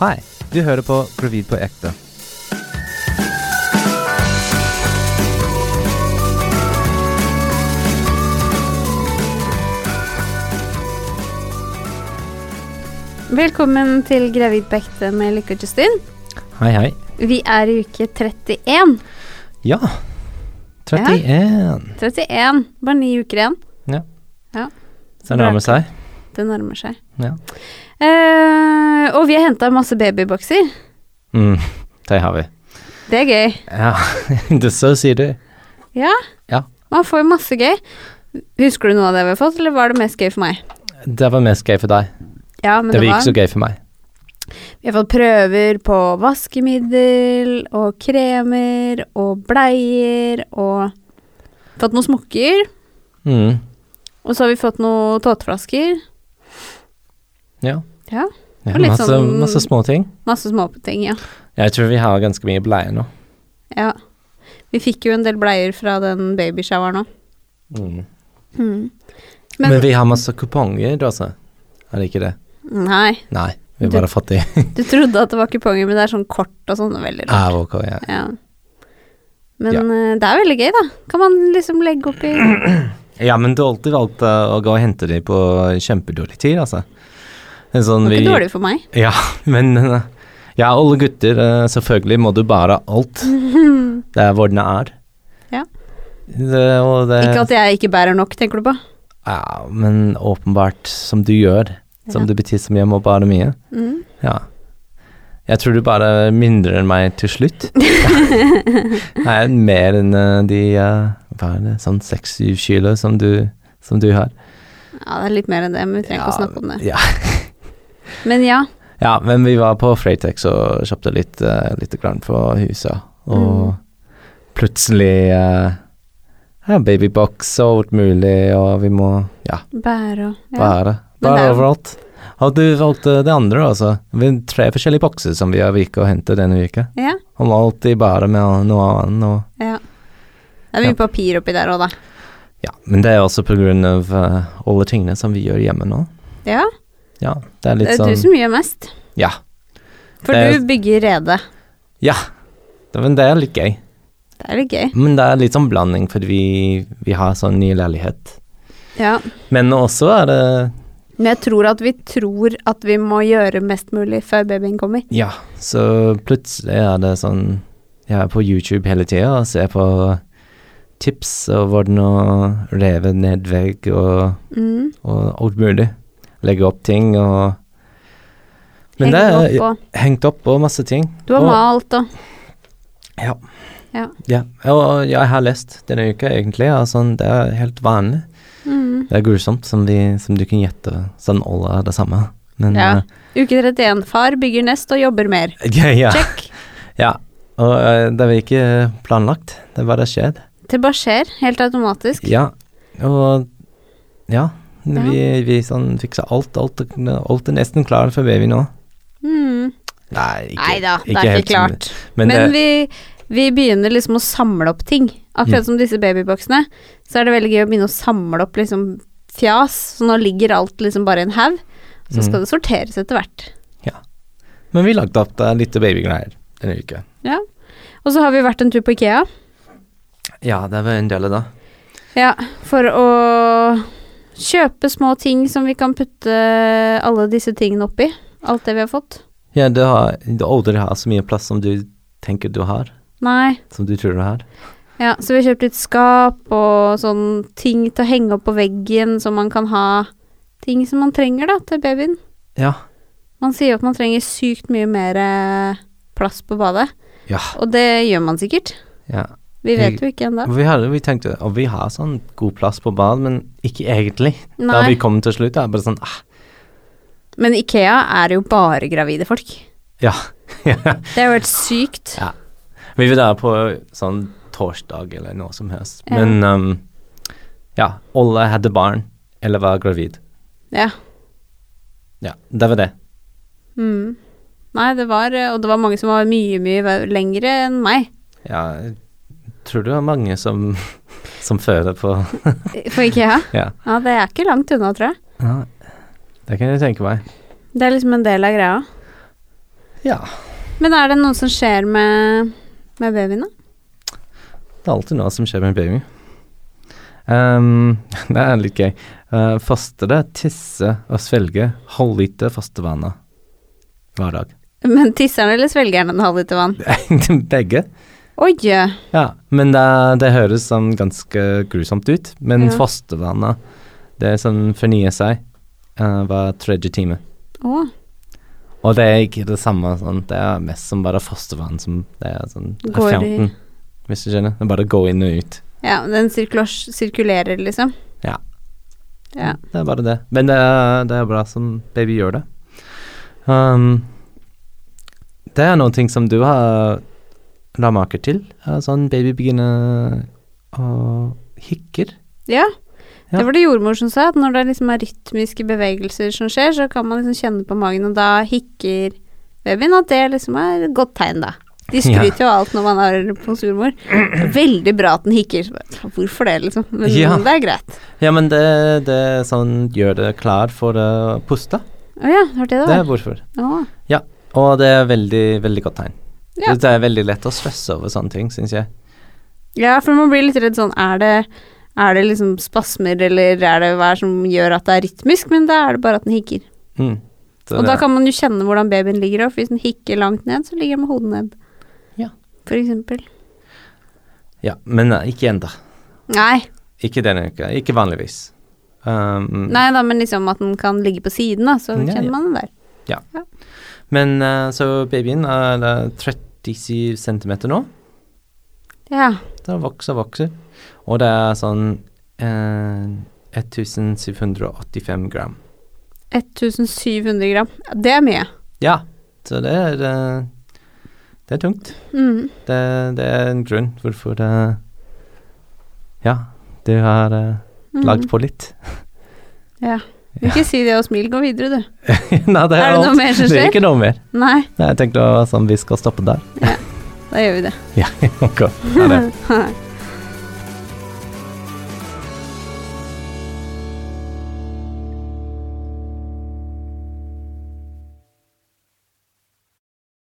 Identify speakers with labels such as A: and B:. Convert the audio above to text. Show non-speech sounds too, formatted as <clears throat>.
A: Hei, du hører på Gravid på ekte.
B: Velkommen til Gravid på ekte med Lykke og Justin.
A: Hei, hei.
B: Vi er i uke 31.
A: Ja, 31.
B: 31, Bare ni uker igjen.
A: Ja.
B: Ja.
A: Det nærmer seg.
B: Det nærmer seg.
A: Ja.
B: Eh, og vi har henta masse babybokser.
A: Mm, det har vi.
B: Det er gøy.
A: Ja, <laughs> det så sier du.
B: Ja.
A: Ja.
B: Man får masse gøy. Husker du noe av det vi har fått, eller var det mest gøy for meg?
A: Det var mest gøy for deg.
B: Ja, men
A: det
B: det,
A: var
B: var
A: ikke så gøy for meg.
B: Vi har fått prøver på vaskemiddel og kremer og bleier og Fått noen smokker.
A: Mm,
B: Og så har vi fått noen tåteflasker.
A: ja.
B: Ja.
A: Ja,
B: Og litt
A: masse,
B: sånn-
A: masse småting.
B: Masse småting, ja.
A: Jeg tror vi har ganske mye bleie nå.
B: ja. Vi fikk jo en del bleier fra den babyshoweren òg.
A: Mm. Men,
B: Men,
A: vi har masse kuponger, altså. Er det ikke det?
B: Nei,
A: Nei, vi er
B: Du-
A: bare fattige.
B: du trodde at det var kuponger, men det er sånn kort og sånn. det er Veldig rart.
A: <laughs> Ah, ok, ja.
B: Ja. Men
A: Ja.
B: eh, det er veldig gøy, da. Kan man liksom legge oppi
A: <clears throat> Ja, men du har alltid valgt eh, å gå og hente dem på kjempedårlig tid, altså. En
B: Det
A: sånn
B: var
A: vi
B: ikke dårlig for meg.
A: Ja, <laughs> men eh, Ja, alle gutter, eh, selvfølgelig må du bære
B: <laughs>
A: alt. Det er hvordan det er.
B: Ja.
A: Det, og det
B: Ikke at jeg ikke bærer nok, tenker du på?
A: Ja, men åpenbart, som du gjør. Som
B: Ja.
A: du betyr som jeg må bære mye.
B: Mm.
A: Ja. Jeg tror du bare er mindre enn meg til
B: <laughs>
A: slutt. Jeg er mer enn eh, de eh, Hva er det, sånn seks-syv kilo som du, som du har.
B: Ja, det er litt mer enn det, men vi trenger
A: Ja,
B: ikke å snakke om det.
A: Ja. <laughs>
B: Men ja.
A: Ja, men vi var på Freitex og kjøpte litt, eh, lite grann på huset. Og
B: Mm.
A: plutselig eh, ja, babybox og alt mulig, og vi må ja,
B: Bære og ja.
A: bære.
B: Men det
A: Bære
B: er jo-
A: overalt. Og du valgte det andre, altså. Vi har tre forskjellige bokser som vi har virket og hentet denne uka.
B: ja.
A: Og må alltid bære med noe annet. Og,
B: ja. Det er mye papir oppi der òg, da.
A: ja, men det er også på grunn av eh, alle tingene som vi gjør hjemme nå.
B: Ja.
A: Ja, det er
B: Det
A: litt
B: er du
A: sånn
B: som gjør mest.
A: Ja.
B: For
A: Det er-
B: du bygger rede.
A: Men det er litt gøy.
B: Det er litt gøy.
A: Men det er litt sånn blanding, fordi vi, vi har sånn ny leilighet.
B: Ja.
A: Men også er det
B: Men jeg tror at vi tror at vi må gjøre mest mulig før babyen kommer.
A: Ja, så plutselig er det sånn Jeg er på YouTube hele tida og ser på tips og hvordan å reve ned vegg og,
B: Mm.
A: og alt mulig. Legge opp ting og Men
B: Henge
A: det er
B: opp, og,
A: hengt opp og masse ting.
B: du har
A: og,
B: malt og
A: Ja.
B: Ja.
A: ja. Og jeg har lest denne uka, egentlig. Og sånn, det er helt vanlig.
B: mm.
A: Det er grusomt, som, vi, som du kan gjette. Sånn alle er det samme. Men
B: Ja.
A: eh,
B: Uke 31. Far bygger nest og jobber mer.
A: <laughs> ja, ja.
B: Check.
A: Ja, og eh, det var ikke planlagt, det bare skjedde.
B: Det bare skjer, helt automatisk.
A: Ja, og ja,
B: Ja.
A: vi, vi sånn fiksa alt, alt, alt er nesten klart for baby nå.
B: Mm.
A: Nei, ikke,
B: Nei da, det er
A: helt
B: ikke klart.
A: som-
B: Men,
A: Men, det,
B: vi, vi begynner liksom å samle opp ting.
A: Mm.
B: Akkurat som disse babyboksene, så er det veldig gøy å begynne å samle opp liksom fjas. Så nå ligger alt liksom bare i en haug. Så
A: Mm.
B: skal det sorteres etter hvert.
A: men vi lagde opp det litt babygreier denne uka.
B: Ja. Og så har vi vært en tur på Ikea.
A: Ja, det var en del av det.
B: Ja, for å kjøpe små ting som vi kan putte alle disse tingene oppi. Alt det vi har fått.
A: Ja, du har du aldri har så mye plass som du tenker du har,
B: Nei.
A: som du tror du har.
B: Ja, så vi har kjøpt litt skap og sånn ting til å henge opp på veggen som man kan ha ting som man trenger da, til babyen.
A: Ja.
B: Man sier jo at man trenger sykt mye mer eh, plass på badet,
A: Ja.
B: og det gjør man sikkert.
A: ja.
B: Vi
A: Mm.
B: vet jo ikke ennå.
A: Vi, hadde, vi tenkte at vi har sånn god plass på bad, men ikke egentlig. Da
B: Nei,
A: vi kom til slutt, er det bare sånn ah,
B: men Ikea er jo bare gravide folk.
A: Ja. ah. <laughs>
B: Det er jo helt sykt.
A: Ja. Vi vil være på sånn torsdag eller noe som helst.
B: Ja.
A: Men ehm, ja, alle hadde barn eller var gravid.
B: Ja.
A: Ja, det var det.
B: Mm. Nei, det var eh, Og det var mange som var mye, mye ve- lengre enn meg.
A: Ja, jeg tror du har mange som, <laughs> som føler på
B: eh, For IKEA.
A: Ja.
B: Ja, det er ikke langt unna, tror jeg.
A: Ja, det kan jeg tenke meg.
B: Det er liksom en del av greia.
A: Ja.
B: Men er det noe som skjer med, med babyen, da?
A: Det er alltid noe som skjer med en baby. Ehm, <laughs> det er litt gøy. Eh, faste det er tisse og svelge halvliter fastevannet hver dag. <laughs>
B: Men tisser han eller svelger han en halvliter vann?
A: Begge.
B: Oi! ja.
A: Ja, men det, det høres sånn ganske grusomt ut. Men
B: Ja.
A: fastevannet, det er sånn fornyer seg eh, hver tredje time.
B: Å,
A: Og det er ikke det samme, sånn. det er mest som bare fostervann som det er sånn det er
B: Går i-
A: 15, hvis du skjønner. Det er bare å gå inn og ut.
B: ja. Den sirkulas- sirkulerer, liksom.
A: Ja.
B: Ja.
A: Det er bare det. Men det er, det er bra som baby gjør det. Um, det er noen ting som du har la merke til. er Sånn baby begynner å hikker.
B: ja.
A: Ja.
B: Det var det jordmor som sa, at når det liksom er rytmiske bevegelser som skjer, så kan man liksom kjenne på magen, og da hikker babyen, at det liksom er et godt tegn, da. De skryter jo av alt når man har hos jordmor. Veldig bra at den hikker. Så bare, Hvorfor det, liksom? Men
A: Ja.
B: det er greit.
A: Ja, men det, det er sånn gjør det klar for å puste.
B: Å ja, det var det det
A: Det er
B: var.
A: hvorfor.
B: Å,
A: Og det er veldig, veldig godt tegn.
B: Ja.
A: Det er veldig lett å stresse over sånne ting, syns jeg.
B: Ja, for man blir litt redd sånn Er det, er det liksom spasmer, eller er det hva er det som gjør at det er rytmisk? Men da er det bare at den hikker.
A: Mm. Så
B: Og
A: det-
B: da kan man jo kjenne hvordan babyen ligger òg, for hvis den hikker langt ned, så ligger den med hodet ned.
A: Ja.
B: For eksempel.
A: Ja, men eh, ikke ennå.
B: Nei,
A: Ikke denne uka. Ikke vanligvis. Um,
B: nei da, men liksom at den kan ligge på siden, da, så
A: Ja, ja.
B: kjenner man den der.
A: Men eh, så babyen er eh, 37 cm nå.
B: Ja.
A: Den vokser og vokser. Og det er sånn eh, 1785 gram.
B: 1700 gram. Ja, Det er mye.
A: Ja, så det er eh, Det er tungt.
B: Mm.
A: Det, det er en grunn hvorfor det Ja, du har eh,
B: Mm.
A: lagd på litt. <laughs>
B: Ja. Du vil ikke si det og smil, gå videre, du.
A: Nei, det
B: Er det noe
A: alt.
B: mer som
A: Det er
B: skjer?
A: ikke noe mer.
B: Nei,
A: Nei, jeg tenkte å- sånn, vi skal stoppe der.
B: da gjør vi det.
A: Ja, ok. Ha det.